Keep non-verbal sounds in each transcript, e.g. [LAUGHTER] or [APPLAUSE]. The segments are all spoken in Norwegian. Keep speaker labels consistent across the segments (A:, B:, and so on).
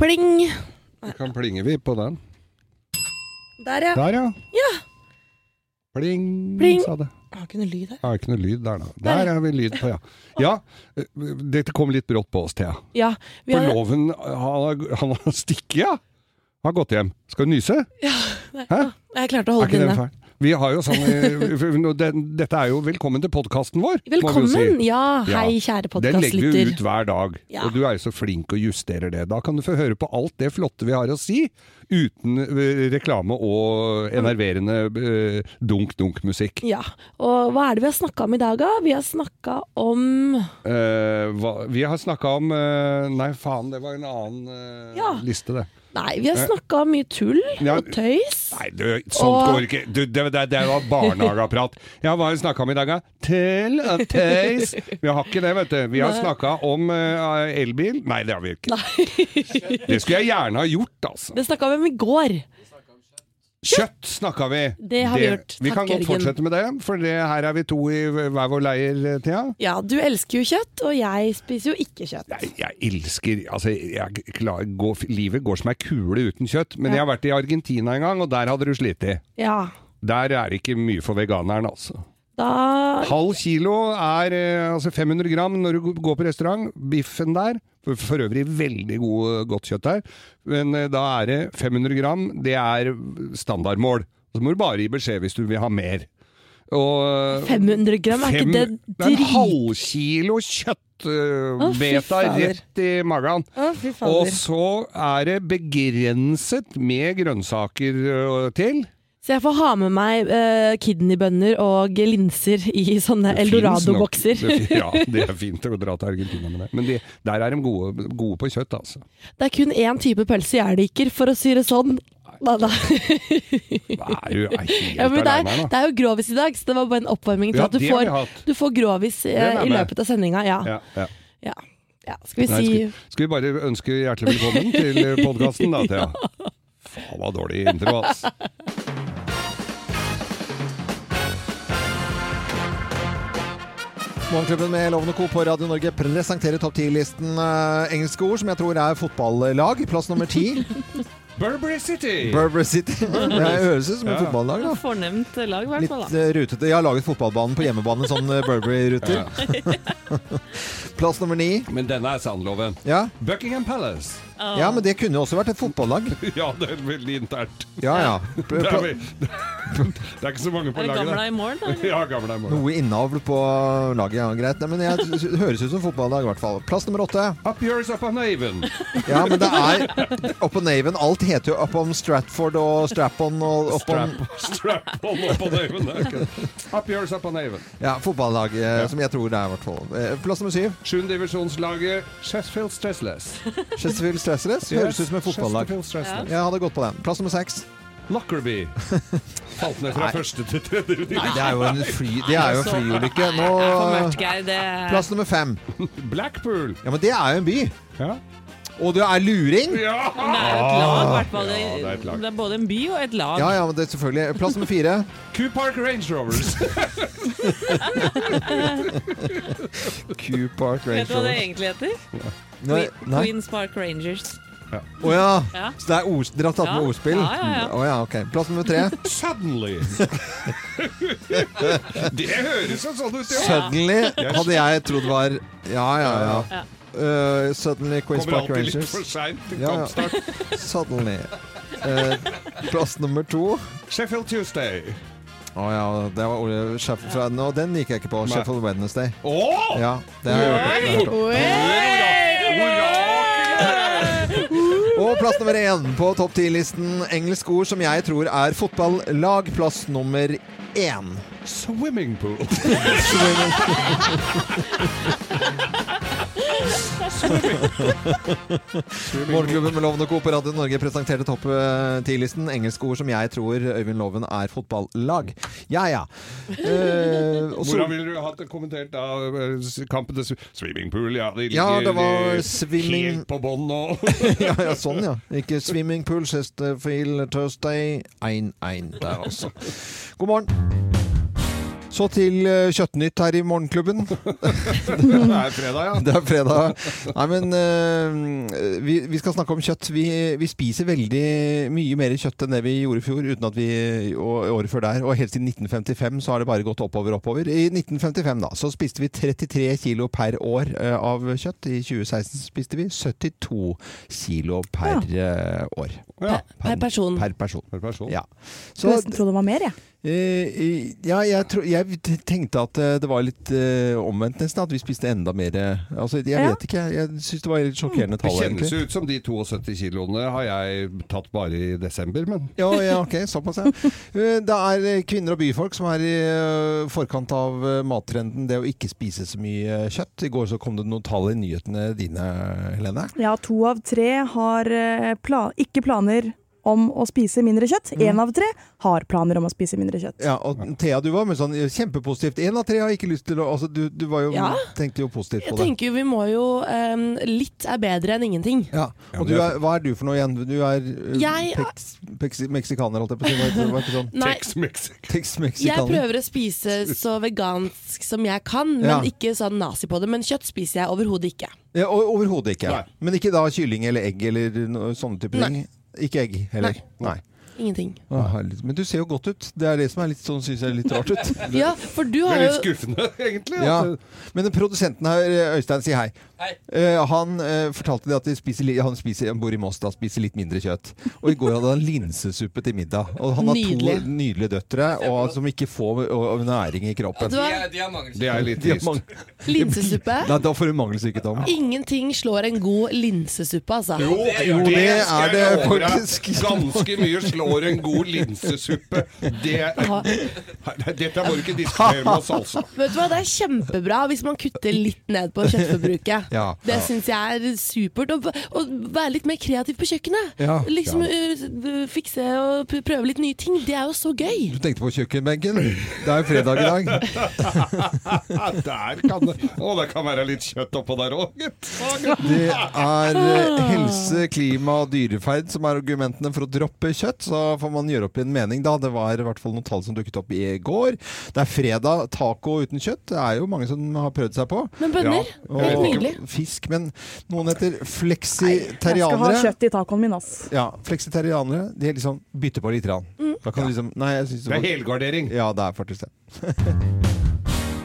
A: Pling!
B: Vi kan plinge vi på den.
A: Der, ja.
B: Der, ja.
A: Ja.
B: Pling,
A: Pling.
B: sa det.
A: Jeg har ikke noe lyd her.
B: Det er ikke noe lyd der, da.
A: Der,
B: Der er vi lyd på, ja. Ja, eh, dette kom litt brått på oss, Thea.
A: Ja, vi
B: For
A: har,
B: loven, han har- han har stikket, ja. Har gått hjem. Skal du nyse?
A: jeg klarte å
B: Er
A: holde
B: ikke
A: den
B: den
A: inne.
B: feil? Vi har jo sånn eh, [LAUGHS] for nå, den- Dette er jo velkommen til podkasten vår.
A: Velkommen!
B: Må vi jo si.
A: Ja,
B: Ja.
A: hei, kjære
B: Den legger vi ut
A: podkastlytter.
B: hver dag,
A: Ja.
B: og du er jo så flink og justerer det. Da kan du få høre på alt det flotte vi har å si, uten eh, reklame og enerverende eh, dunk-dunk-musikk.
A: Ja. Og hva er det vi har snakka om i dag, da? Vi har snakka om
B: Eh, vi har snakka om eh, Nei, faen, det var en annen eh,
A: Ja.
B: liste, det.
A: Nei, vi har snakka om mye tull
B: Eh. Ja.
A: og tøys.
B: Nei, du, sånt
A: Og-
B: går ikke. Du, det, det, det var barnehageprat. Ja, hva har vi snakka om i dag, da? Tell a tøys. Vi har ikke det, vet du. Vi har snakka om eh, elbil. Nei, det har vi ikke. Det skulle jeg gjerne ha gjort, altså.
A: Det snakka vi om i går.
B: Kjøtt snakka vi.
A: Det har vi gjort.
B: Vi
A: Takk,
B: kan godt
A: Jørgen.
B: fortsette med det, for det, her er vi to i hver vår leir, eh, Thea.
A: Ja, du elsker jo kjøtt, og jeg spiser jo ikke kjøtt.
B: Jeg, jeg elsker Altså, jeg klar, går, livet går som ei kule uten kjøtt. Men
A: Ja.
B: jeg har vært i Argentina en gang, og der hadde du slitt.
A: Ja,
B: Der er det ikke mye for veganeren, altså.
A: da
B: Halv kilo er eh, altså 500 gram når du går på restaurant. Biffen der, for, for øvrig veldig god, eh, godt kjøtt der, men eh, da er det 500 gram, det er standardmål. Så må du bare gi beskjed hvis du vil ha mer. Og eh,
A: 500 gram, er
B: fem-
A: ikke det
B: er en
A: drit...
B: halvkilo kjøtt eh,
A: Å, fy
B: beta
A: fader.
B: rett i magen.
A: Å, fy
B: Og
A: fader.
B: så er det begrenset med grønnsaker eh, til.
A: Så jeg får ha med meg uh, kidneybønner og linser i sånne
B: Det finnes nok-
A: eldorado-bokser.
B: det fin- Ja,
C: [LAUGHS]
B: det er fint å dra til Argentina med det. Men de, der er de gode, gode på kjøtt, altså.
A: Det er kun én type pølse jeg liker, for å si det sånn. Nei, nei.
B: Hva er du er helt
A: Ja, men det, er,
B: aleine her,
A: det
B: da?
A: er jo grovis i dag, så det var bare en oppvarming til
B: Ja,
A: at du
B: det har vi
A: får,
B: hatt.
A: du får grovis
B: Den
A: eh,
B: er
A: i
B: med.
A: løpet av sendinga. Ja.
B: Ja, ja.
A: Ja. ja. Skal vi
B: Nei,
A: si
B: skal, skal vi bare ønske hjertelig velkommen til
C: [LAUGHS]
B: podkasten, da, Thea? Faen, hva dårlig intro, altså.
D: Morgenklubben med Lovende Co. på Radio Norge presenterer topp 10-listen eh, engelske ord, som jeg tror er fotballag. Plass nummer ti,
B: [LAUGHS] Burberry City!
D: Berber City. Det høres ut som et
B: Ja.
D: fotballag, da.
C: Fornemt lag, i hvert
D: Litt
C: fall. da.
D: eh, rutete. Jeg har laget fotballbanen på hjemmebane, sånn eh, Burberry-ruter. [LAUGHS] Plass nummer ni.
B: Men denne er sandloven.
D: Ja.
B: Buckingham Palace.
D: ja, men det kunne jo også vært et fotballag.
B: [LAUGHS] Ja, det er veldig internt.
D: Ja,
B: [LAUGHS]
D: ja.
B: Det
D: Pl-
B: er,
D: pl-
B: vel- det er ikke så mange på
C: Er det
B: laget
C: gamla
B: der.
C: i morgen, da?
B: [LAUGHS] Ja, gamle er morgen.
D: Noe innavl på laget, ja, greit. Nei, men jeg, det høres ut som fotballag, i hvert fall. Plass nummer åtte.
B: Up yours up on Haven.
D: Ja, men det er Oppå Naven. Alt heter jo Oppom Stratford og Strap-on og Oppom
B: Strap, strap on up on Haven. Det er ikke det. [LAUGHS] Up yours up on Haven.
D: Ja, fotballag, eh, som jeg tror det er i hvert fall. Eh, plass nummer syv.
B: Sjuendedivisjonslaget Sheffield Stressless.
D: Chesterfield Stressless. Høres ut som et fotballag.
B: Chesterfield Stressless.
D: Jeg hadde gått på den. Plass nummer seks. [LAUGHS]
B: Lockerby. Falt ned fra
D: Nei.
B: første til tredje
D: Nei,
B: divisjon.
D: det er jo en, fly, det er jo en flyulykke. Nå
C: For mørkt, Geir. Det
D: Plass nummer fem.
B: Blackpool.
D: Ja, men det er jo en by.
B: Ja.
D: Og det er luring!
B: ja!
C: det er jo et lag, i hvert fall.
B: Ja, det er et lag.
C: Det er både en by og et lag.
D: Ja, ja, men det er selvfølgelig. Plass nummer fire.
B: Q Park Range
D: [LAUGHS]
B: Rovers.
D: Q Park
C: Vet du hva det
D: Ranger.
C: egentlig heter?
D: Nei. nei.
C: Queens Park Rangers.
D: Å ja.
C: Ja.
D: Så det er ord, dere har tatt med
C: Ja.
D: ordspill?
C: Ja, ja, ja.
D: Å ja, ok. Plass nummer tre. [LAUGHS]
B: Suddenly. det høres jo sånn ut, ja.
D: Suddenly hadde jeg trodd var Ja, ja, ja.
C: Ja.
D: Uh, suddenly Queens
B: Kommer
D: Park
B: alltid litt
D: Rangers.
B: for seint til
D: Ja, ja.
B: kampstart.
D: Suddenly. Eh, plass nummer to.
B: Sheffield Tuesday.
D: Å ja, det var Ole Sheffield fra Og den gikk jeg ikke på. Sheffield Wednesday.
B: Åh!
D: Ja, det har jeg hørt. det har jeg hørt om. Og plass nummer én på topp ti-listen. Engelsk ord som jeg tror er fotballag. Plass nummer én.
B: Swimming [LAUGHS] pool.
D: Morgenklubben med Loven og Co. på Radio Norge presenterte topp eh, ti-listen. Engelske ord som jeg tror Øyvind Loven er fotballag. Ja, ja. Eh, og så-
B: Hvordan ville du hatt det kommentert da? eh, s- Kampen til sw- swimming pool, ja. De ligger
D: Ja, det var
B: de-
D: swimming-
B: Helt på bånn
D: [LAUGHS]
B: nå.
D: ja, ja, sånn, ja. Ikke swimming pool, Chesterfield Thursday 1-1 der, altså. God morgen. Så til eh, Kjøttnytt her i Morgenklubben. [LAUGHS]
B: Det er fredag, ja.
D: Det er fredag. Nei, men eh, vi, vi skal snakke om kjøtt. Vi, vi spiser veldig mye mer kjøtt enn det vi gjorde i fjor, uten at vi, og året før der. Og helt siden 1955 så har det bare gått oppover og oppover. I 1955 da, så spiste vi 33 kilo per år eh, av kjøtt. I 2016 spiste vi 72 kilo per eh, år.
B: ja.
A: Per
B: Mm.
A: person.
D: Per person.
B: Per person.
D: Ja. Så
E: Skulle nesten tro det var mer, jeg.
D: Eh, ja, jeg, tro, jeg t- tenkte at eh, det var litt eh, omvendt nesten, at vi spiste enda mer eh, Altså, jeg
E: Ja.
D: vet ikke, jeg, jeg syns det var litt sjokkerende
B: Det
D: tall,
B: Mm. kjennes
D: egentlig.
B: jo ut som de 72 kiloene har jeg tatt bare i desember, men
D: Ja, ja, ok, såpass,
B: [LAUGHS]
D: ja. Eh, Det er eh, kvinner og byfolk som er i eh, forkant av eh, mattrenden, det å ikke spise så mye eh, kjøtt. I går så kom det noen tall i nyhetene dine, Helene.
E: Ja, to av tre har eh, pla ikke planer om å spise mindre kjøtt. Én av tre har planer om å spise mindre kjøtt.
D: Mm. Ja, og Thea, du var med sånn eh, kjempepositivt. Én av tre har ikke lyst til å Altså, du, du var jo,
A: Ja.
D: tenkte jo positivt
A: Jeg
D: på det.
A: tenker jo vi må jo em, Litt er bedre enn ingenting.
D: Ja,
B: Ja, men
D: og du
B: det er
D: er, Hva er du for noe igjen? Du er eh,
A: Jeg-
D: pex, pex, meksikaner, holdt jeg på å si. Hva heter det? Hva heter det sånn?
A: Nei,
B: Tex Mexico.
A: jeg
D: Tex-meksikaner.
A: prøver å spise så vegansk som jeg kan, men
D: Ja.
A: ikke sånn nazi på det. Men kjøtt spiser jeg overhodet ikke.
D: Ja, o- Overhodet ikke.
B: Nei.
D: Men ikke da kylling eller egg eller noe, sånne type ting? Ikke egg heller? Nei.
A: Ingenting.
D: Å, herlig. Men du ser jo godt ut. Det er det som er litt sånn, syns jeg er litt rart ut.
B: [LAUGHS]
A: Ja, for du
B: Det
A: har
B: er litt
A: jo
B: skuffende, [LAUGHS] egentlig.
D: Ja.
B: at-
D: Men produsenten her, Øystein, si hei. Eh, han eh, fortalte det at de spiser, li- han, spiser, han bor i Moss, da spiser litt mindre kjøtt. Og i går hadde han linsesuppe til middag. Og han har
A: Nydelig.
D: to nydelige døtre og, som ikke får og, og næring i kroppen.
A: du har
B: Det er litt
D: De har
B: trist.
D: mang-
A: linsesuppe.
D: Nei, [LAUGHS] da får du mangelsykdom.
A: Ingenting slår en god linsesuppe, altså.
B: Jo,
D: jo, det er
B: skal
D: det
B: jeg love deg.
D: faktisk.
B: Ganske mye slår en god linsesuppe. Det, Nei, dette må du ikke diskutere med oss, altså.
A: Vet du hva, Det er kjempebra hvis man kutter litt ned på kjøttforbruket.
D: [LAUGHS] Ja.
A: Det syns jeg er supert. Å å være litt mer kreativ på kjøkkenet.
D: Ja.
A: Liksom uh, Fikse og p- prøve litt nye ting. Det er jo så gøy.
D: Du tenkte på kjøkkenbenken? Det er jo fredag i dag.
B: Ja, der kan det Å, det kan være litt kjøtt oppå der òg, gitt.
D: Det er eh, helse, klima og dyreferd som er argumentene for å droppe kjøtt. Så får man gjøre opp i en mening, da. Det var i hvert fall noen tall som dukket opp i går. Det er fredag. Taco uten kjøtt det er jo mange som har prøvd seg på.
A: Men bønner,
D: Og
A: helt nydelig.
D: fisk. Men noen heter
E: Jeg skal ha
D: fleksitarianere.
E: kjøtt i tacoen min, ass.
D: Ja, fleksitarianere. De liksom bytter på litt. Rann.
E: Mm.
D: Da kan du liksom Nei, jeg syns
B: Det er helgardering.
D: Ja, det er faktisk
B: [LAUGHS]
D: det.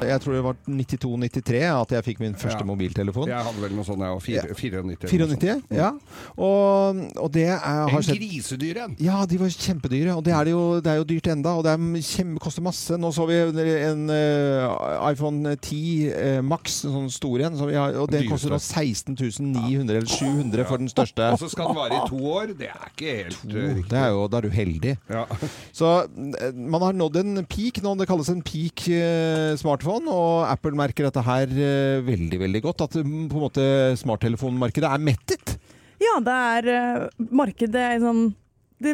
D: Jeg tror det var 92-93 at jeg fikk min første
B: Ja.
D: mobiltelefon.
B: Jeg hadde vel noe sånn, sånt, jeg òg.
D: Ja.
B: 94. eller noe sånt.
D: 94, ja. Og, og det er, har
B: En
D: skjedd
B: grisedyr en.
D: ja, de var kjempedyre, og det er, det jo, det er jo dyrt enda, og det er kjem, koster masse. Nå så vi en eh, iPhone 10 eh, Max, en sånn stor en, som vi har, og det
B: Dyreste.
D: koster da 16 900 eller 700 for den største.
B: Og så skal den vare i to år. Det er ikke helt eh,
D: Det
B: riktig.
D: er jo, da er du heldig.
B: Ja.
D: Så eh, man har nådd en peak nå, det kalles en peak eh, smartphone, og Apple merker dette her eh, veldig, veldig godt, at mm, på en måte smarttelefonmarkedet er mettet.
E: Ja, det er eh, markedet er sånn det,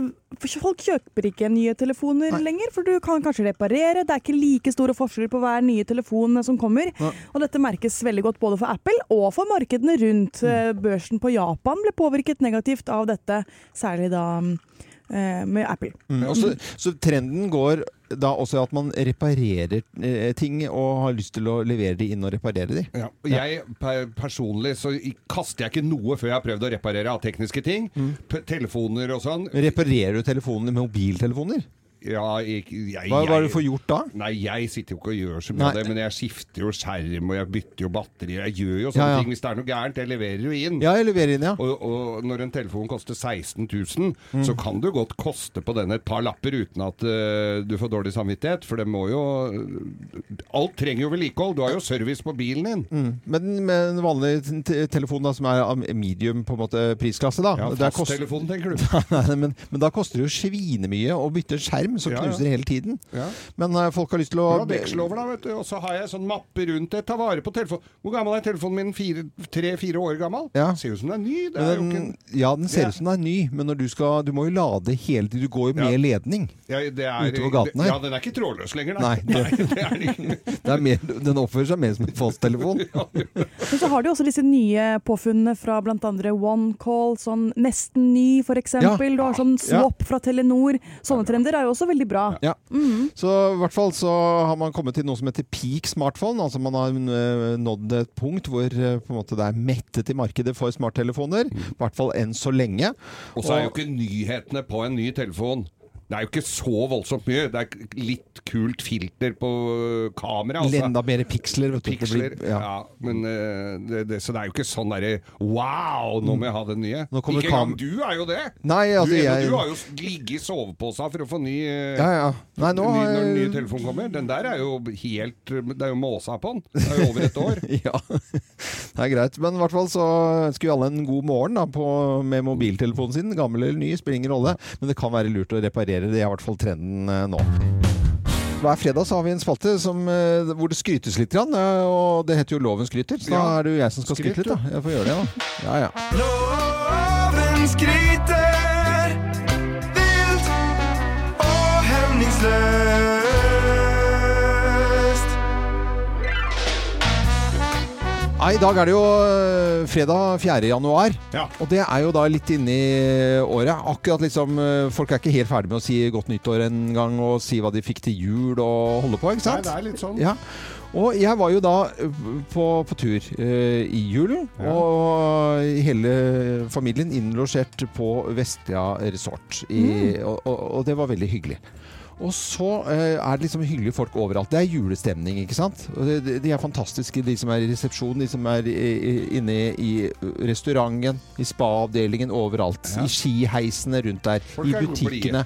E: Folk kjøper ikke nye telefoner
D: Nei.
E: lenger, for du kan kanskje reparere. Det er ikke like store forskjeller på hver nye telefon eh, som kommer.
D: Nei.
E: Og dette merkes veldig godt både for Apple og for markedene
D: Mm.
E: rundt. Eh, Børsen på Japan ble påvirket negativt av dette, særlig da eh, med Apple.
D: Og så, så trenden går da også at man reparerer eh, ting og har lyst til å levere de inn og reparere de.
B: Ja. og Jeg per- personlig så i- kaster jeg ikke noe før jeg har prøvd å reparere av tekniske ting.
D: Mm.
B: P telefoner og sånn.
D: Reparerer du telefoner med mobiltelefoner?
B: Ja, jeg, jeg,
D: Hva, hva er
B: jeg-
D: det du får gjort da?
B: Nei, jeg sitter jo ikke og gjør så mye
D: Nei.
B: av det, men jeg skifter jo skjerm, og jeg bytter jo batterier. Jeg gjør jo sånne
D: Ja, ja.
B: ting. Hvis det er noe gærent, jeg leverer jo inn.
D: Ja, jeg leverer inn, ja.
B: Og, og når en telefon koster 16 000,
D: Mm.
B: så kan du godt koste på den et par lapper uten at eh, du får dårlig samvittighet, for det må jo Alt trenger jo vedlikehold. Du har jo service på bilen din.
D: Mm. Men med en vanlig t- t- telefon da, som er av medium på en måte prisklasse da.
B: Ja,
D: der kost-
B: Fasttelefon, tenker du.
D: [LAUGHS] Nei, men, men da koster det jo svinemye å bytte skjerm, som
B: Ja, ja.
D: knuser hele tiden.
B: Ja.
D: Men eh, folk har lyst til å
B: Du har vekslover, da, vet du. Og så har jeg sånn mappe rundt det. Ta vare på telefonen. Hvor gammel er telefonen min? Tre-fire år gammel?
D: Ja.
B: Ser ut som den er ny. Det er jo ikke
D: den,
B: en
D: ja, den
B: Ja.
D: ser ut som den er ny, men når du skal Du må jo lade hele tiden. Du går jo med
B: Ja.
D: ledning.
B: Ja, det er,
D: Ute på gaten her.
B: Ja, den er ikke trådløs lenger, [LAUGHS]
D: Nei, det-
B: det er den ikke.
D: Det er mer, den oppfører seg mer som en fasttelefon.
E: Men så har de også disse nye påfunnene fra bl.a. OneCall, sånn nesten ny f.eks.
D: Ja.
E: Du har sånn swap fra Telenor. Sånne trender er jo også også veldig bra.
D: Ja.
E: Mhm.
D: Så i hvert fall så har man kommet til noe som heter peak smartphone. Altså man har eh, nådd et punkt hvor eh, på en måte det er mettet i markedet for smarttelefoner.
B: Mm.
D: I hvert fall enn så lenge.
B: [LAUGHS] Og så er jo ikke nyhetene på en ny telefon. Det er jo ikke så voldsomt mye. Det er litt kult filter på øh, kamera. Altså.
D: Enda mer piksler. Vet du. Det
B: Piksler.
D: blir-
B: ja.
D: ja.
B: men, øh, det, det, så det er jo ikke sånn derre Wow, Mm. nå må jeg ha det nye.
D: Nå kommer
B: ikke engang
D: kam-
B: du er jo det!
D: Nei, altså,
B: du, Eno,
D: jeg-
B: du har jo s- ligget i soveposa for å få ny, øh,
D: Ja, ja. Nei,
B: ny
D: nå har
B: Når den nye
D: jeg
B: telefonen kommer. Den der er jo helt øh, Det er jo måsa på den. Det er jo over et [LAUGHS] år.
D: [LAUGHS] ja, det er greit. Men i hvert fall så ønsker vi alle en god morgen da, på, med mobiltelefonen sin. Gammel eller ny, spiller ingen rolle. Men det kan være lurt å reparere. Det er i hvert fall trenden eh, nå. Hver fredag så har vi en spalte som, eh, hvor det skrytes litt. Grann, eh, og det heter jo Loven skryter. Så da
B: Ja.
D: er det jo jeg som skal
B: Skryt,
D: skryte litt. Da. Jeg får gjøre det, da. Ja, ja.
F: Loven skryter vilt og hemningsløst.
D: Nei, I dag er det jo eh, fredag 4. januar,
B: Ja.
D: og det er jo da litt inne i året. Akkurat liksom, eh, Folk er ikke helt ferdig med å si godt nyttår en gang, og si hva de fikk til jul og holde på. ikke
B: Nei,
D: sant?
B: det er litt sånn.
D: Ja. Og jeg var jo da ø, på, på tur ø, i julen, og hele familien innlosjert på Vestia resort. I,
B: Mm.
D: og, og, og det var veldig hyggelig. Og så ø, er det liksom hyggelige folk overalt. Det er julestemning, ikke sant? Og det- det- De er fantastiske, de som er i resepsjonen, de som er i- i- inne i restauranten, i spa-avdelingen, overalt.
B: Ja.
D: I skiheisene rundt der,
B: Folk er
D: i
B: jo blide.
D: butikkene.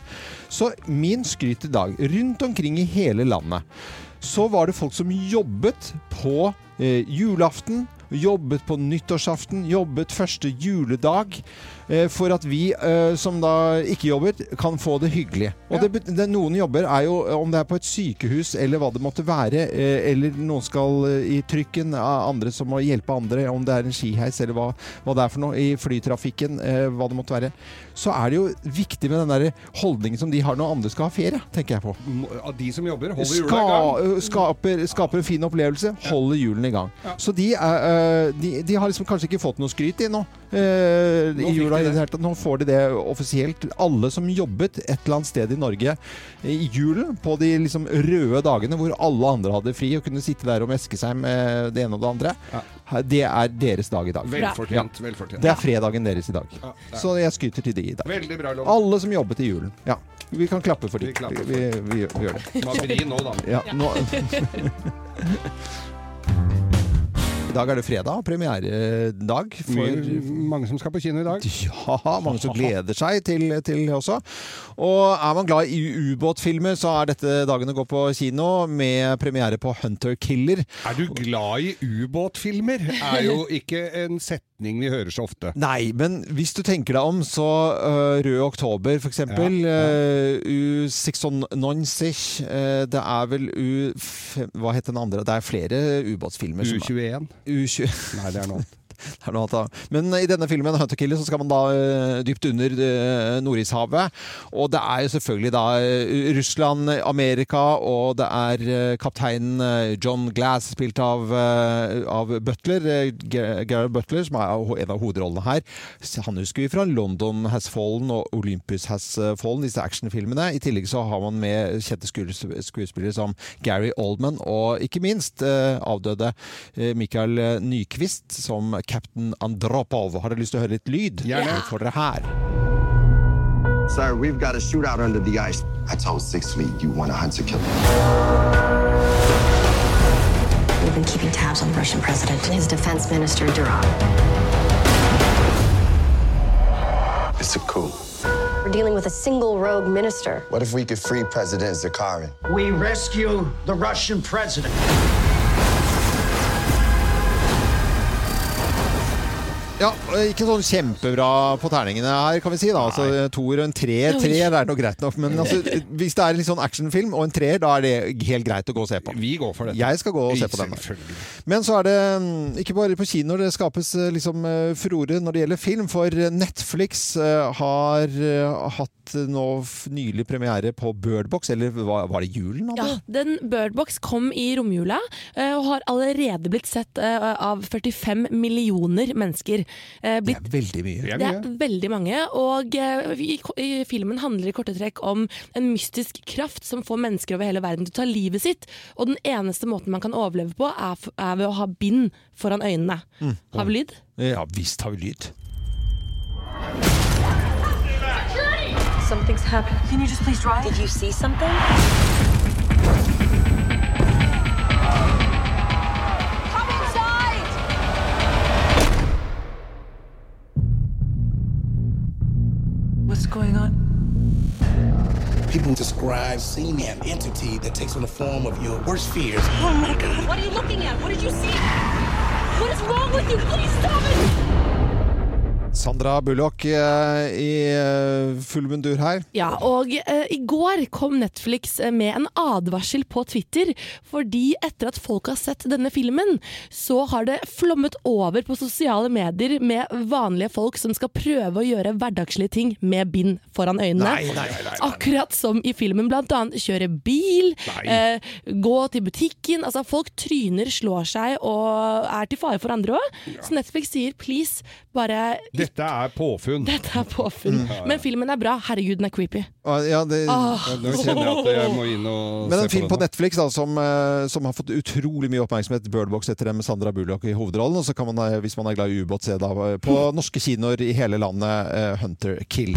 D: Så min skryt i dag, rundt omkring i hele landet, så var det folk som jobbet på eh, julaften, jobbet på nyttårsaften, jobbet første juledag, eh, for at vi eh, som da ikke jobber, kan få det hyggelig. Og det, bet- det, noen jobber er jo, eh, om det er på et sykehus eller hva det måtte være, eh, eller noen skal eh, i trykken, eh, andre som må hjelpe andre, om det er en skiheis eller hva, hva det er for noe, i flytrafikken, eh, hva det måtte være, så er det jo viktig med den der holdningen som de har når andre skal ha ferie, tenker jeg på
B: Må- Av de som jobber, holder jula i gang.
D: ska, skaper, skaper en fin opplevelse, holder julen i gang. Så de, er, eh, de, de har liksom kanskje ikke fått noe skryt ennå. eh,
B: Nå
D: I
B: fikk
D: jula
B: de
D: i
B: det.
D: det hele tatt. Nå får de det offisielt. Alle som jobbet et eller annet sted i Norge i julen, på de liksom røde dagene hvor alle andre hadde fri og kunne sitte der og meske seg med det ene og det andre, det er deres dag i dag.
B: Velfortjent. velfortjent.
D: Det er fredagen deres i dag.
B: Ja, det er-
D: Så jeg skryter til de i dag.
B: Veldig bra, Loven.
D: Alle som jobbet i julen. Ja. Vi kan klappe for
B: Vi
D: dem.
B: klapper for
D: Vi, vi, vi gjør det.
B: Man har fri nå, da.
D: Ja, nå... [LAUGHS] I dag er det fredag, premieredag for
B: Mye, mange som skal på kino i dag.
D: ja, mange som gleder seg til, til også. Og er man glad i ubåtfilmer, så er dette dagen å gå på kino med premiere på Hunter Killer.
B: Er du glad i ubåtfilmer? Er jo ikke en setning vi hører så ofte.
D: Nei, men hvis du tenker deg om, så øh, Rød Oktober, for eksempel.
B: Ja,
D: øh, U96. øh, det er vel U... Hva het den andre? Det er flere ubåtsfilmer. som-
B: U21?
D: U20.
B: Nei, det er noe annet.
D: Det er noe annet, da. Men i denne filmen, 'Hunter Killer', så skal man da eh, dypt under eh, Nordishavet. Og det er jo selvfølgelig da eh, Russland, Amerika, og det er eh, kaptein eh, John Glass, spilt av, eh, av Butler, eh, Ge- Gerard Butler, som er ho- en av hovedrollene her. Han husker vi fra 'London Has Fallen' og 'Olympus Has Fallen', disse actionfilmene. I tillegg så har man med kjente skuesp- skuespillere som Gary Oldman, og ikke minst eh, avdøde eh, Mikael Nyquist som Captain Andropov. Har dere lyst til å høre litt lyd?
B: Gjerne.
D: Det får dere her.
G: Sir, we've got a shootout under the ice. I told Six Fleet you want a hunter killer.
H: We've been keeping tabs on the Russian president and his defense minister, Durov.
G: It's a coup.
H: We're dealing with a single rogue minister.
G: What if we could free President Zakharin?
I: We rescue the Russian president.
D: Ja, ikke sånn kjempebra på terningene her, kan vi si. da altså, Toer og en treer. Treer er nok greit nok, men
B: [LAUGHS]
D: altså, hvis det er en litt sånn actionfilm og en treer, da er det helt greit å gå og se på.
B: Vi går for dette.
D: Jeg skal gå og se på den.
B: Selvfølgelig.
D: Men så er det mm, ikke bare på kinoer det skapes eh, liksom, eh, furore når det gjelder film, for Netflix eh, har eh, hatt eh, nå f- nylig premiere på Birdbox, eller hva- var det julen?
A: Ja,
D: Anne?
A: den Birdbox kom i romjula eh, og har allerede blitt sett eh, av 45 millioner mennesker. eh, blitt
D: Det er veldig mye.
B: Det er
A: det
B: mye.
A: er veldig mange, og eh, i, i filmen handler i korte trekk om en mystisk kraft som får mennesker over hele verden til å ta livet sitt. Og den eneste måten man kan overleve på, er, f er ved å ha bind foran øynene. Har vi lyd?
D: Ja visst har vi lyd.
H: Something's happened. Can you just please drive? Did you see something?
I: What's going on?
F: People describe seeing an entity that takes on the form of your worst fears.
H: Oh What are you looking at? What did you see? What is wrong with you? Please stop it!
D: Sandra Bullock eh, i eh, full mundur her.
A: Ja, og eh, i går kom Netflix eh, med en advarsel på Twitter, fordi etter at folk har sett denne filmen, så har det flommet over på sosiale medier med vanlige folk som skal prøve å gjøre hverdagslige ting med bind foran øynene. Akkurat som i filmen, blant annet kjøre bil, eh, gå til butikken. Altså, folk tryner, slår seg og er til fare for andre òg. Så Netflix sier please, bare [LAUGHS]
B: Dette er påfunn.
A: dette er påfunn. Men filmen er bra. Herregud, den er creepy.
D: Ah, Ja, det,
B: Ja, Nå kjenner jeg at jeg må inn og
D: Men en
B: se
D: film
B: på
D: på
B: den.
D: Netflix da, som, eh, som har fått utrolig mye oppmerksomhet. Birdbox etter det med Sandra Bullock i hovedrollen. Og så kan man, eh, hvis man er glad i ubåt, se da eh,
B: [LAUGHS]
D: på norske kinoer i hele landet eh, Hunter Kill.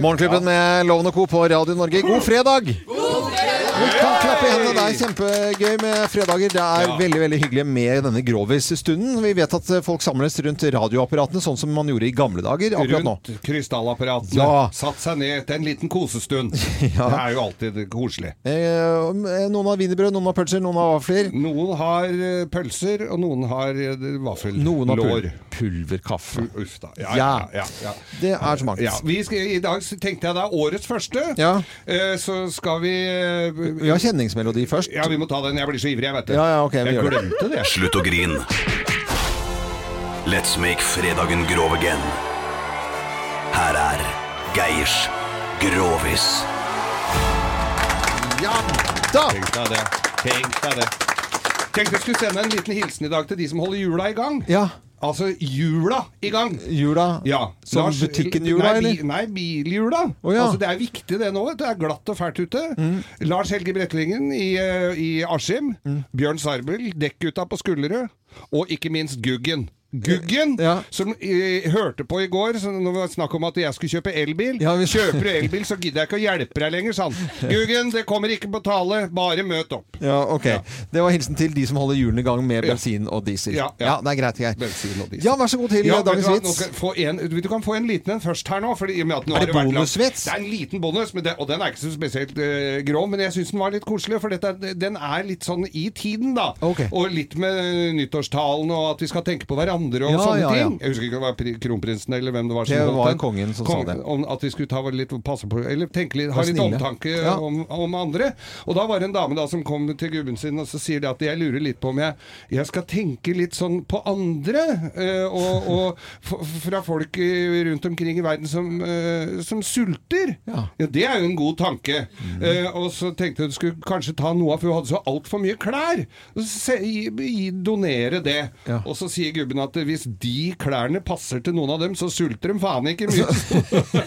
D: Morgenklubben med Loven og Co. på Radio Norge. God fredag! God fredag! Klapp i hendene. Det er kjempegøy med fredager. Det er veldig veldig hyggelig med denne grovis-stunden. Vi vet at eh, folk samles rundt radioapparatene, sånn som man gjorde i gamle dager. Akkurat nå.
B: Rundt krystallapparatene.
D: Ja.
B: Satt seg ned til en liten [LAUGHS] kosestund. Det er jo alltid koselig.
D: Eh, Noen har wienerbrød, noen har pølser, noen har vafler.
B: Noen har eh, pølser, og noen har eh, vaffel.
D: Noen har
B: Lår.
D: pul pulverkaffe.
B: Uff da. Ja, ja, ja, ja.
D: Det er så mangt.
B: Ja, vi skal, I dag så tenkte jeg det er årets første.
D: Ja.
B: Eh, Så skal vi eh,
D: Vi har kjenningsmelodi først.
B: Ja, vi må ta den. Jeg blir så ivrig, jeg, vet du.
D: Ja, ja, ok, vi
B: jeg
D: gjør det.
B: glemte det.
F: Slutt å grin. Let's make fredagen grov again. Her er Geirs Grovis.
D: Ja da!
B: Tenk deg det. Tenk deg det. Tenkte jeg skulle sende en liten hilsen i dag til de som holder jula i gang.
D: Ja,
B: Altså jula i gang.
D: jula.
B: Ja.
D: Som
B: Lars-
D: butikken jula,
B: nei, bi-
D: eller?
B: Nei, bilhjula.
D: Å, ja. Mm.
B: altså, det er viktig det nå. vet du. Det er glatt og fælt ute. Lars Helge Brettlingen i, eh, i Askim.
D: Mm.
B: Bjørn Sarbel, dekkgutta på Skullerud. Og ikke minst Guggen. Guggen,
D: Ja.
B: som eh, hørte på i går så når det var snakk om at jeg skulle kjøpe elbil.
D: Ja, vi-
B: Kjøper du elbil, så gidder jeg ikke å hjelpe deg lenger, sa
D: [LAUGHS]
B: han. Guggen, det kommer ikke på tale. Bare møt opp.
D: Ja, ok. Det var hilsen til de som holder hjulene i gang med
B: Ja.
D: bensin og diesel.
B: Ja, ja.
D: det er greit. greit.
B: Bensin og diesel.
D: Ja, vær så god til
B: Ja, vet
D: dagens
B: du hva, nå
D: vits.
B: kan- få en, du kan få en liten en først her nå. Fordi, i og med at nå
D: Er
B: har
D: det
B: vært langt-
D: bonusvits?
B: Det er en liten bonus, men det, og den er ikke så spesielt eh, grov. Men jeg syns den var litt koselig, for dette, er- den er litt sånn i tiden, da.
D: Ok.
B: Og litt med eh, nyttårstalen og at vi skal tenke på hverandre og
D: Ja,
B: sånne
D: ja, ja.
B: ting. Jeg husker ikke om det var pri- kronprinsen eller hvem det var som
D: Det
B: holdt
D: var
B: den.
D: kongen som sa det.
B: Om at vi skulle ta vel litt passe på Eller tenke litt, ha
D: Vær
B: litt
D: snille.
B: omtanke
D: Ja.
B: om, om andre. Og da var det en dame da som kom til gubben sin og så sier det at jeg lurer litt på om jeg, jeg skal tenke litt sånn på andre, eh, og, og f- fra folk eh, rundt omkring i verden som, eh, som sulter.
D: Ja. Mhm.
B: det er jo en god tanke. Eh, og så tenkte jeg du skulle kanskje ta noe av, for hun hadde så altfor mye klær. Og så se, gi, gi, donere det.
D: Ja.
B: Og så sier gubben at hvis de klærne passer til noen av dem, så sulter de faen ikke
D: [LAUGHS]
B: mye.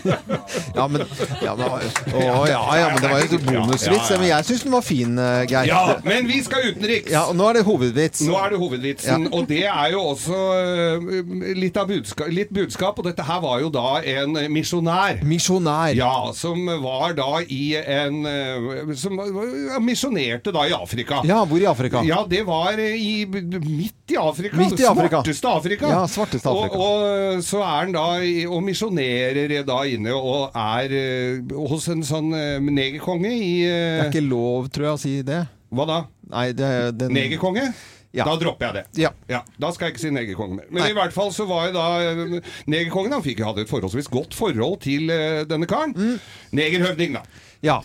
D: Ja, men, ja,
B: [LAUGHS]
D: men, å, ja, ja, men det var jo en bonusvits. Men jeg syns den var fin, eh, Geir.
B: Ja, men vi skal utenriks!
D: Ja, og nå er det hovedvits.
B: Nå er det hovedvitsen, og det er jo også eh, litt, av budskap, litt budskap. Og dette her var jo da en misjonær.
D: Misjonær.
B: Ja, som var da i en eh, Som eh, misjonerte da i Afrika.
D: Ja, hvor i Afrika?
B: Ja, det var i, midt i Afrika.
D: Midt i Afrika.
B: Svarteste Afrika.
D: Ja, svarteste Afrika.
B: Og, og så er han da i- og misjonerer da inne og er eh, hos en sånn eh, negerkonge i
D: Det er
B: eh,
D: ikke lov, tror jeg, å si det.
B: Hva da?
D: Nei, det den
B: Negerkonge?
D: Ja.
B: Da dropper jeg det.
D: Ja.
B: Ja, Da skal jeg ikke si negerkongen mer. Men
D: Nei.
B: i hvert fall så var jo da eh, Negerkongen han fikk hadde et forholdsvis godt forhold til eh, denne karen.
D: Mm.
B: Negerhøvding, da.
D: Ja.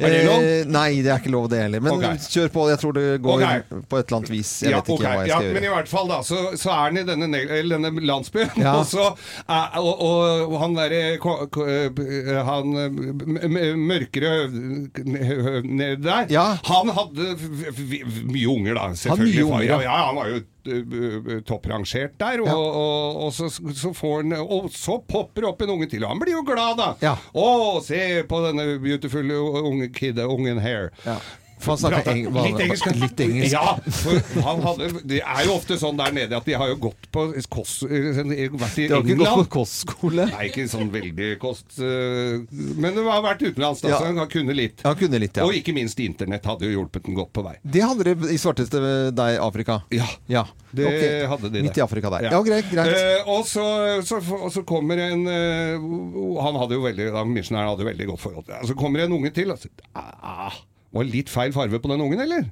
B: Er det lov?
D: Eh, nei, det er ikke lov det heller. Men
B: Ok.
D: kjør på. Jeg tror det går
B: Ok.
D: på et eller annet vis. Jeg vet ikke
B: ok.
D: hva jeg
B: ja,
D: skal
B: Men i
D: gjøre.
B: hvert fall da, så, så er han i denne, neg- eller denne landsbyen,
D: Ja.
B: [LAUGHS] og, så, er- og, og, og han derre ko- ko- eh, Han eh, m- m- mørkere høv- høv- ned der,
D: Ja.
B: han hadde f- f- mye unger, da.
D: mye
B: Selvfølgelig.
D: unger,
B: ja.
D: ja.
B: ja, han var jo eh, topprangert der, og, og, og, så, så får han Og så popper det opp en unge til, og han blir jo glad, da!
D: Ja.
B: Å, se på denne beautiful unge kid, ungen her.
D: Ja. For han snakker
B: Prata-
D: eng vanlig-
B: litt engelsk.
D: Litt engelsk.
B: Ja, for han hadde, det er jo ofte sånn der nede at de har jo gått på kos, vært i
D: Det har ikke gått på
B: England.
D: kostskole.
B: Nei, ikke sånn veldig kost øh, Men det har vært utenlands, da,
D: Ja.
B: så han kunne litt.
D: Han kunne litt, ja.
B: Og ikke minst internett hadde jo hjulpet den godt på vei.
D: Det hadde de i svarteste deg, Afrika.
B: Ja.
D: Ja.
B: Det
D: Ok.
B: hadde de
D: Midt
B: der.
D: i Afrika der. Ja, greit. greit.
B: Eh, og, så, så, og så kommer en eh, Han hadde jo veldig da, Missionæren hadde jo veldig godt forhold til det. Så kommer en unge til. Og så, ah, var det litt feil farve på den ungen, eller?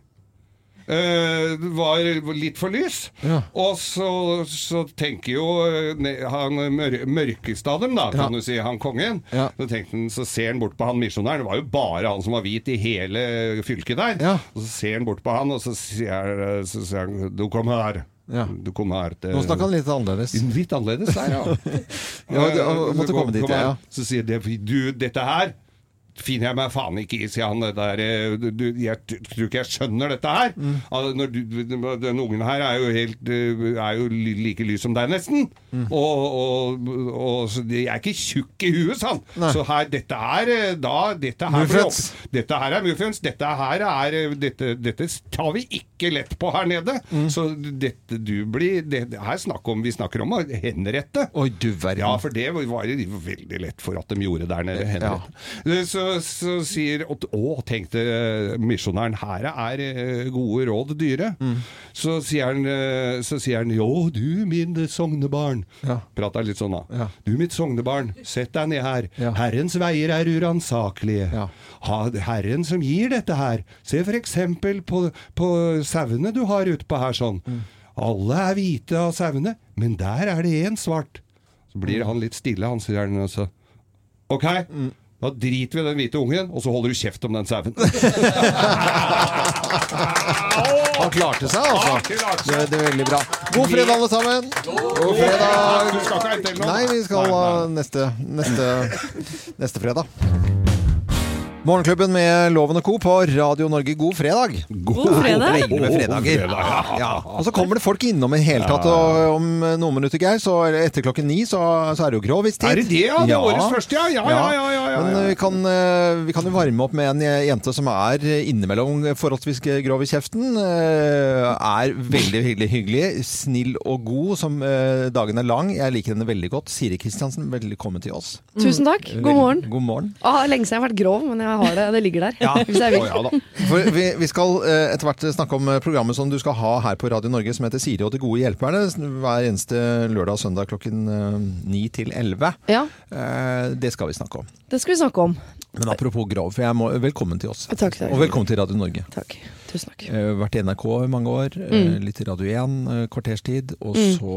B: Eh, det var litt for lys.
D: Ja.
B: Og så, så tenker jo eh, ne- han mør mørkeste av dem, da, kan
D: Ja.
B: du si, han kongen.
D: Ja.
B: Så, tenkte han, så ser han bort på han misjonæren. Det var jo bare han som var hvit i hele fylket der.
D: Ja.
B: Og så ser han bort på han, og så sier, så sier han 'Du kom her'.
D: Ja.
B: Du kom her til
D: Nå snakker han litt annerledes.
B: Litt annerledes der,
D: [LAUGHS]
B: ja.
D: Ja, det- og måtte komme dit, ja, ja.
B: Så sier det, du, dette her finner jeg meg faen ikke i, sier han. Det der, eh, du, du- jeg t- tror ikke jeg skjønner dette her.
D: Mm.
B: Al- Når du, den ungen her er jo, helt, eh, er jo li- like lys som deg, nesten.
D: Mm.
B: Og, og, og så, jeg er ikke tjukk i huet, sa han.
D: Nei.
B: Så her, dette er eh, da, dette her blir
D: Muffins.
B: opp- Dette her er muffins. Dette her er eh, dette, dette tar vi ikke lett på her nede. Så dette du blir det, det her snakk om, Vi snakker om å henrette.
D: Oi, du verden.
B: Ja, for det var det veldig lett for at de gjorde der nede.
D: Ja.
B: Henriette. Så, så sier at, Å, tenkte eh, misjonæren, her er eh, gode råd dyre.
D: Mm.
B: Så, sier han, eh, så sier han, jo, du min sognebarn.
D: Ja.
B: Prater litt sånn da.
D: Ja.
B: Du mitt sognebarn, sett deg ned her.
D: Ja.
B: Herrens veier er uransakelige.
D: Ja.
B: Ha, herren som gir dette her. Se for eksempel på, på sauene du har ute på her sånn.
D: Mm.
B: Alle er hvite av sauene, men der er det én svart. Så
D: Mm.
B: blir han litt stille, han sier han altså. Ok, da driter vi i den hvite ungen, og så holder du kjeft om den
D: [LAUGHS]
B: sauen.
D: Han klarte seg, altså.
B: Han klarte
D: Det,
B: seg.
D: det er veldig bra. God fredag, alle sammen. God fredag.
B: Du skal ikke ha en til nå?
D: Nei, vi skal ha neste, neste, neste fredag. Morgenklubben med Loven og Co. på Radio Norge, god fredag!
C: God fredag.
D: Lenge med fredager. Ja. Og så kommer det folk innom i det hele tatt, og om noen minutter, Geir, så eller etter klokken ni, så, så er det jo grovistid.
B: Er det det, ja? Det er årets første, ja. Ja, ja, ja, ja, ja, ja.
D: Men eh, vi kan, eh, vi kan jo varme opp med en eh, jente som er innimellom forholdsvis grov i kjeften. eh, Er veldig hyggelig, hyggelig, snill og god som eh, dagen er lang. Jeg liker henne veldig godt. Siri Kristiansen, velkommen til oss.
J: Tusen takk.
B: Mm.
J: God morgen.
D: God morgen.
J: Ah, lenge siden jeg har vært grov, men jeg har det. Det ligger der. [LAUGHS] Hvis jeg vil.
B: ja da.
D: For vi, vi skal eh, etter hvert snakke om eh, programmet som du skal ha her på Radio Norge, som heter Siri og de gode hjelperne. Hver eneste lørdag og søndag klokken eh, 9 til 11.
J: Ja,
D: Eh, Det skal vi snakke om.
J: det skal vi snakke om.
D: Men apropos grov, for jeg må, velkommen til oss.
J: Takk, takk.
D: Og velkommen til Radio Norge.
J: Takk. Mm. Tusen takk.
D: Eh, Vært i NRK i mange år, eh, litt i Radio 1, eh, kvarterstid, og
J: Mm.
D: så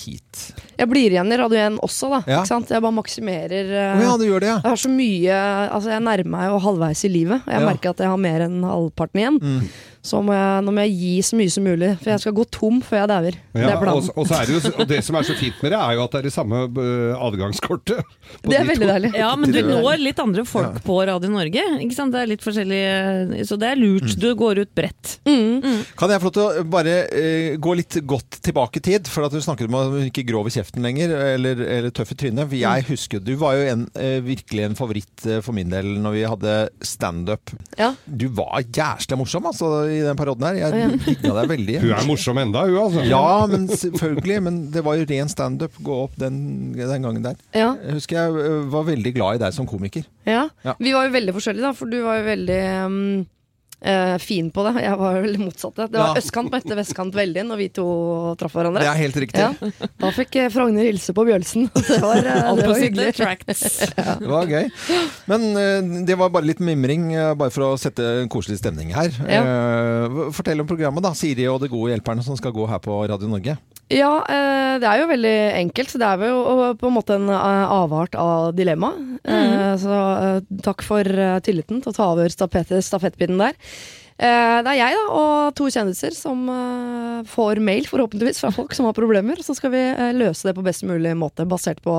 D: hit.
J: Jeg blir igjen i Radio 1 også, da.
D: Ja.
J: Ikke sant? Jeg bare maksimerer.
D: Å
J: eh,
D: ja, du gjør det, ja.
J: Jeg har så mye Altså, jeg nærmer meg jo halvveis i livet. Og jeg
D: Ja. Mm.
J: merker at jeg har mer enn halvparten igjen. Så må jeg, nå må jeg gi så mye som mulig, for jeg skal gå tom før jeg dauer. det
B: Ja,
J: er
B: og,
J: planen.
B: og, så er det jo, og det som er så fint med det, er jo at det er det samme øh, adgangskortet. på
J: Det er
B: de
J: veldig
B: to.
J: deilig.
C: Ja, men du når litt andre folk på Radio Norge. Ikke sant? Det er litt forskjellig, eh, så det er lurt. Du går ut bredt.
D: Kan jeg få lov til å bare eh, gå litt godt tilbake i tid? For at du snakket om at hun ikke er grov i kjeften lenger, eller, eller tøff i trynet. For
J: Mm.
D: Jeg husker, Du var jo en, eh, virkelig en favoritt eh, for min del når vi hadde standup.
J: Ja.
D: Du var jævlig morsom altså, i den perioden her. Jeg digga deg veldig.
J: [LAUGHS]
B: Hun er morsom enda, hun altså.
D: Ja, men selvfølgelig. Men det var jo ren standup gå opp den, den gangen der.
J: Ja.
D: Jeg husker jeg eh, var veldig glad i deg som komiker.
J: Ja.
D: Ja.
J: Vi var jo veldig forskjellige, da, for du var jo veldig mm, eh, fin på det. Jeg var jo veldig motsatt. Det var
D: Ja.
J: østkant møtte vestkant veldig når vi to traff
D: Det
J: hverandre.
D: er helt riktig.
J: Ja. Da fikk eh, Frogner hilse på Bjølsen. [LAUGHS] Det var, eh, det var
C: Opposite
J: hyggelig.
C: attracts.
D: Det var gøy. Men eh, det var bare litt mimring, eh, bare for å sette en koselig stemning her. Eh, fortell om programmet, da. Siri og de gode hjelperne som skal gå her på Radio Norge.
J: Ja, eh, det er jo veldig enkelt. så Det er jo eh, på en måte en eh, avart av dilemma. Eh,
C: Mm.
J: Så eh, takk for eh, tilliten til å ta over stafett- stafettpinnen der. Eh, Det er jeg da, og to kjendiser som eh, får mail, forhåpentligvis, fra folk som har problemer. Så skal vi eh, løse det på best mulig måte, basert på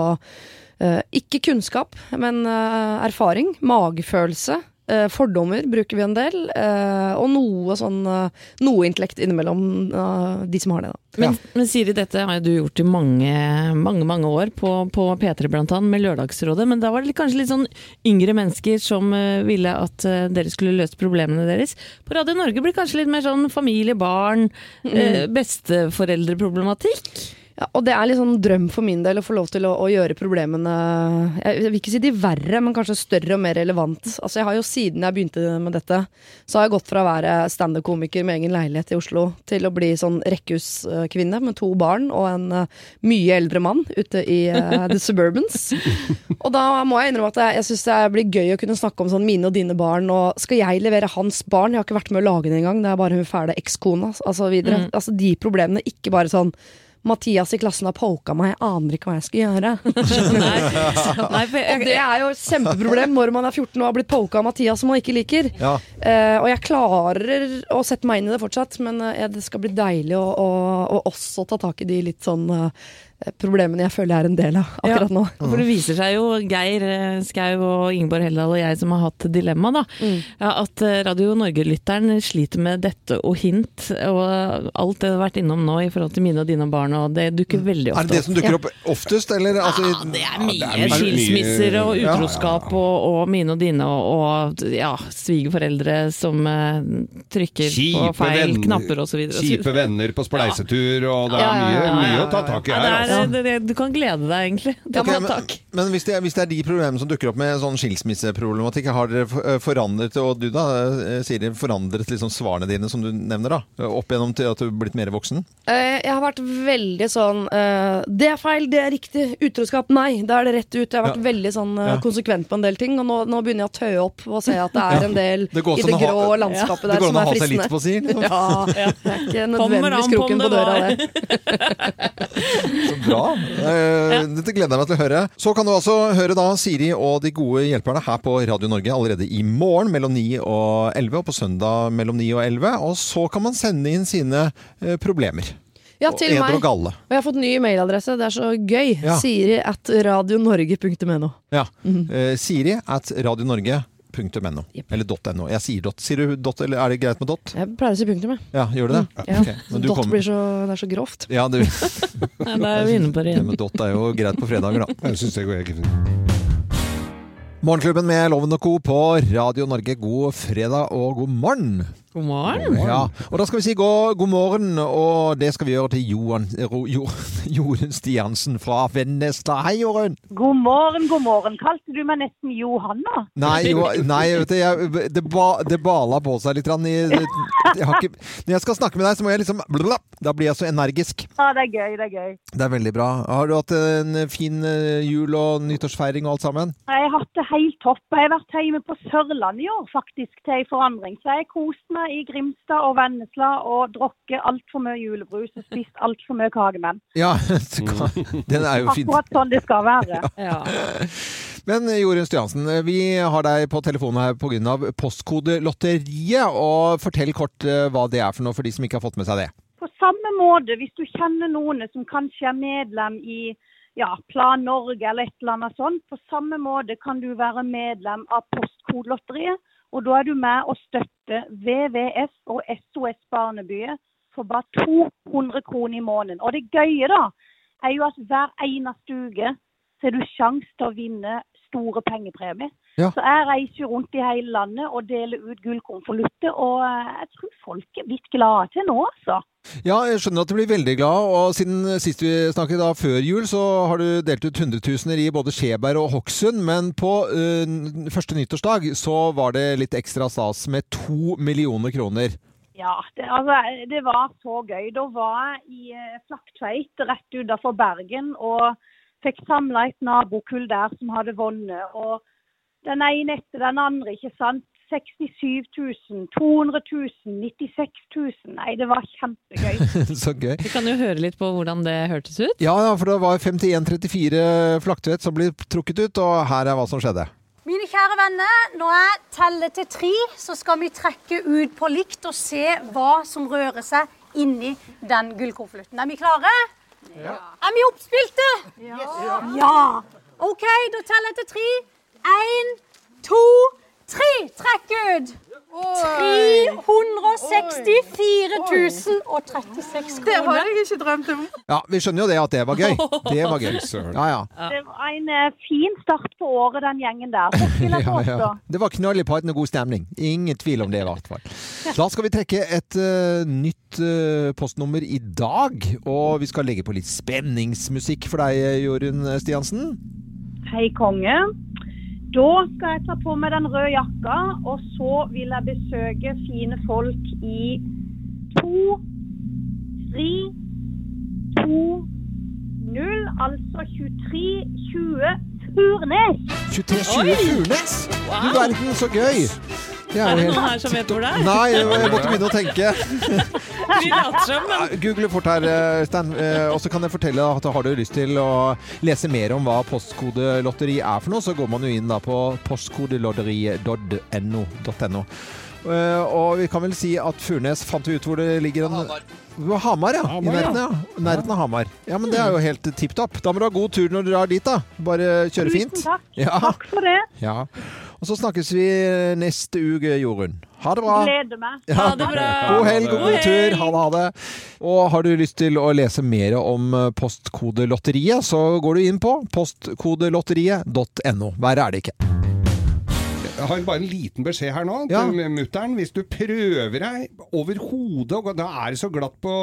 J: eh, ikke kunnskap, men eh, erfaring, magefølelse, Eh, fordommer bruker vi en del. eh, og noe sånn eh, Noe intellekt innimellom eh, de som har det, da. [LAUGHS]
C: Men, men Siri, dette har jo du gjort i mange mange, mange år, på, på P3 blant annet, med Lørdagsrådet. Men da var det kanskje litt sånn yngre mennesker som eh, ville at eh, dere skulle løse problemene deres. På Radio Norge blir det kanskje litt mer sånn familie, barn, eh, besteforeldreproblematikk.
J: Mm. Ja, og det er litt sånn drøm for min del å få lov til å, å gjøre problemene jeg, jeg vil ikke si de verre, men kanskje større og mer relevant. Altså jeg har jo Siden jeg begynte med dette, så har jeg gått fra å være standup-komiker med egen leilighet i Oslo, til å bli sånn rekkehuskvinne med to barn og en eh, mye eldre mann ute i eh, the suburbans. Og da må jeg innrømme at jeg, jeg syns det blir gøy å kunne snakke om sånn mine og dine barn, og skal jeg levere hans barn? Jeg har ikke vært med å lage den engang, det er bare hun fæle ekskona. Altså, videre.
C: Mm.
J: altså de problemene, ikke bare sånn Mathias i klassen har poka meg, jeg aner ikke hva jeg skal gjøre. og det er jo et kjempeproblem når man er 14 og har blitt poka av Mathias som man ikke liker.
D: Ja.
J: Eh, og jeg klarer å sette meg inn i det fortsatt, men eh, det skal bli deilig å, å, å også ta tak i de litt sånn eh, problemene jeg føler jeg er en del av akkurat nå.
C: For det viser seg jo, Geir eh, Skau og Ingeborg Heldal og jeg som har hatt dilemma, da, ja, at eh, Radio Norge-lytteren sliter med dette og hint og alt det du har vært innom nå i forhold til mine og dine barn, og det dukker veldig ofte
D: Er det det som dukker opp oftest, eller? Altså,
C: Ja, det er mye
D: det er mye-
C: skilsmisser og
D: Ja.
C: utroskap og, og mine og dine og, og ja, svigerforeldre som eh, trykker på feil
B: venner-
C: knapper osv.
B: Kjipe venner på spleisetur, og det er mye, mye å ta tak i her. altså.
C: Du kan glede deg, egentlig. Det
D: Ok,
C: må
D: men
C: man takk.
D: men hvis, det er, hvis det er de problemene som dukker opp med sånn skilsmisseproblematikk, har dere for- eh, forandret og du da, eh, Siri, forandret liksom svarene dine som du nevner da, eh, opp gjennom til at du er blitt mer voksen?
J: Eh, jeg har vært veldig sånn eh, Det er feil, det er riktig. Utroskap, nei. Da er det rett ut. Jeg har vært
D: Ja.
J: veldig sånn eh,
D: Ja.
J: konsekvent på en del ting, og nå, nå begynner jeg å tøye opp og se at det er
D: Ja.
J: en del
D: Det går
J: i
D: sånn å
J: det
D: ha-
J: grå
D: Ja.
J: landskapet
D: Det
J: der
D: går an
J: som
D: å
J: er
D: ha seg
J: fristende.
D: litt på, si, liksom.
J: [LAUGHS] Ja, det er ikke
C: Kommer an
J: nødvendigvis
C: på om
J: kroken
C: det
J: på døra,
C: var-
J: det.
D: Bra. Eh, Dette gleder jeg meg til å høre. Så kan du altså høre da Siri og de gode hjelperne her på Radio Norge allerede i morgen mellom 9 og 11, og på søndag mellom 9 og 11. Og så kan man sende inn sine eh, problemer.
J: Ja,
D: Og
J: til
D: eder
J: meg.
D: og galle.
J: Og jeg har fått ny mailadresse. Det er så gøy.
D: Ja.
J: Siri at radionorge.no.
D: Ja.
J: Mhm.
D: Eh, Siri at radionorge.no. Eller .no. Jeg sier dot. Sier du dot, eller er det greit med dot?
J: Jeg pleier å si punktum, jeg.
D: Ja, gjør du det?
J: Ja. [LAUGHS]
D: Ok, men du
J: Dot
D: kommer-
J: blir så, det er så grovt.
D: Ja, du. [LAUGHS]
C: Nei, Da er vi inne på det
D: Det
C: igjen.
D: med dot er jo greit på fredager, da.
B: Jeg synes det går helt fint.
D: Morgenklubben med Loven og Co. på Radio Norge. God fredag og god morgen.
C: God morgen.
D: Ja, og da skal vi si god, god morgen, og det skal vi gjøre til Johan, Ro- jo, [LAUGHS] Jorunn Stiansen fra Vennesla. Hei, Jorunn!
K: God morgen, god morgen. Kalte du meg nesten Johanna?
D: Nei,
K: [LAUGHS]
D: jo, nei vet du, jeg, det, ba, det bala på seg litt. grann i- Jeg har ikke, når jeg skal snakke med deg, så må jeg liksom Da blir jeg så energisk.
K: Ja, det er gøy, det er gøy.
D: Det er veldig bra. Har du hatt en fin eh, jul og nyttårsfeiring og alt sammen?
K: Jeg har hatt det helt topp. Jeg har vært hjemme på Sørlandet i år, faktisk, til en forandring. Så jeg har kost meg i Grimstad og Vennesla og drukket altfor mye julebrus og spist altfor mye kagemenn.
D: Ja, [LAUGHS] så kan- den er jo fin.
K: Akkurat sånn det skal
D: [LAUGHS]
K: være.
D: Men eh, Jorunn Stiansen, vi har deg på telefonen her pga. Postkodelotteriet. Og fortell kort eh, hva det er for noe for de som ikke har fått med seg det.
K: På samme måte, hvis du kjenner noen som kanskje er medlem i ja, Plan Norge eller et eller annet sånt, på samme måte kan du være medlem av Postkodelotteriet. Og da er du med og støtter VVF og SOS Barnebyer for bare 200 kroner i måneden. Og det gøye da, er jo at hver eneste uke så er du sjans til å vinne store pengepremier.
D: Ja.
K: Så jeg reiser jo rundt i hele landet og deler ut gullkonvolutter, og eh, jeg tror folk er litt glade til nå, altså.
D: Ja, jeg skjønner at du blir veldig glad, og siden eh, sist vi snakket da før jul, så har du delt ut hundretusener i både Skjeberg og Hokksund, men på eh, n- første nyttårsdag så var det litt ekstra stas med to millioner kroner. [LAUGHS]
K: Ja, det, altså, det var så gøy. Da var jeg i eh, Flaktveit rett utenfor Bergen og fikk samla et nabokull der som hadde vunnet. Og den ene etter den andre, ikke sant. 67 000, 200 000, 96 000. Nei, det var kjempegøy.
D: så gøy.
C: Vi kan jo høre litt på hvordan det hørtes ut.
D: Ja, ja, for det var 5134 Flaktvedt som ble trukket ut, og her er hva som skjedde.
L: Mine kjære venner, når jeg teller til tre, så skal vi trekke ut på likt og se hva som rører seg inni den gullkonvolutten. Er vi klare? Ja. Er vi oppspilte? Ja. ja. OK, da teller jeg til tre. Én, to, Tre trekk ut! 364 036 kroner.
E: Det har jeg ikke drømt om.
D: Ja, Vi skjønner jo det at det var gøy. Det var gøy. Ja, ja.
K: Det var en eh, fin start på året, den gjengen der. Det
D: [LAUGHS]
K: vil jeg
D: Ja,
K: påstå.
D: ja. Det var knall i parten og god stemning. Ingen tvil om det, i hvert fall. Da skal vi trekke et eh, nytt eh, postnummer i dag. Og vi skal legge på litt spenningsmusikk for deg, eh, Jorunn Stiansen.
K: Hei, konge. Da skal jeg ta på meg den røde jakka, og så vil jeg besøke fine folk i to, tre, to, null, altså 23, 20, Furnes.
D: 23 Furnes? Du verden, så gøy! Det
C: Er det
D: helt-
C: noen her som vet hvor det er?
D: Nei, jeg måtte begynne å tenke.
C: [LAUGHS] Vi later som, men
D: Ja, Google fort her, eh, Stein. Eh, Og så kan jeg fortelle at har du lyst til å lese mer om hva postkodelotteri er for noe, så går man jo inn da på postkodelotteri.no. Eh, Og vi kan vel si at Furnes fant vi ut hvor det ligger en Hamar, Hamar ja. I nærheten, ja. I nærheten av Hamar. Ja, men det er jo helt eh, tipp topp. Da må du ha god tur når du drar dit, da. Bare kjøre fint.
K: Tusen takk.
D: Ja.
K: Takk for det.
D: Ja. Og så snakkes vi eh, neste uke, Jorunn. Ha det bra.
K: Gleder meg.
D: Ja.
K: Ha det bra.
D: God helg og
K: God
D: god
K: helg.
D: tur. Ha det, ha det. Og har du lyst til å lese mer om eh, Postkodelotteriet, så går du inn på postkodelotteriet.no. Verre er det ikke.
B: Jeg har bare en liten beskjed her nå
D: Ja.
B: til mutter'n. Hvis du prøver deg overhodet og Da er det så glatt på,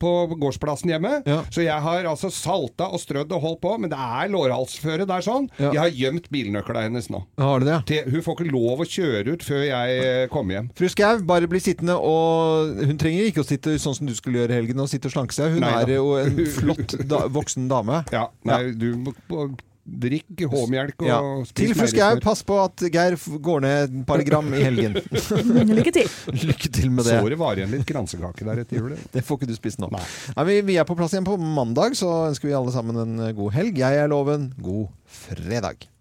B: på gårdsplassen hjemme. Så jeg har altså salta og strødd og holdt på, men det er lårhalsføre der sånn.
D: Ja.
B: Jeg har gjemt bilnøkla hennes nå.
D: Har du det?
B: Til, hun får ikke lov å kjøre ut før jeg eh, kommer hjem.
D: Fru Skau, bare bli sittende, og hun trenger ikke å sitte sånn som du skulle gjøre i helgen, og sitte og slanke seg. Hun
B: Nei da.
D: er jo en flott da, voksen dame. Ja,
B: Nei, du må må drikke H-melk og
D: Ja.
B: spis
D: Til fru Skau,
B: meierismør.
D: pass på at Geir f- går ned et par gram i helgen.
E: Lykke til.
D: Lykke til med det.
B: Såret varer igjen litt kransekake der etter jul.
D: Det får ikke du spise nå. Nei, vi, vi er på plass igjen på mandag, så ønsker vi alle sammen en god helg. Jeg er Loven. God fredag.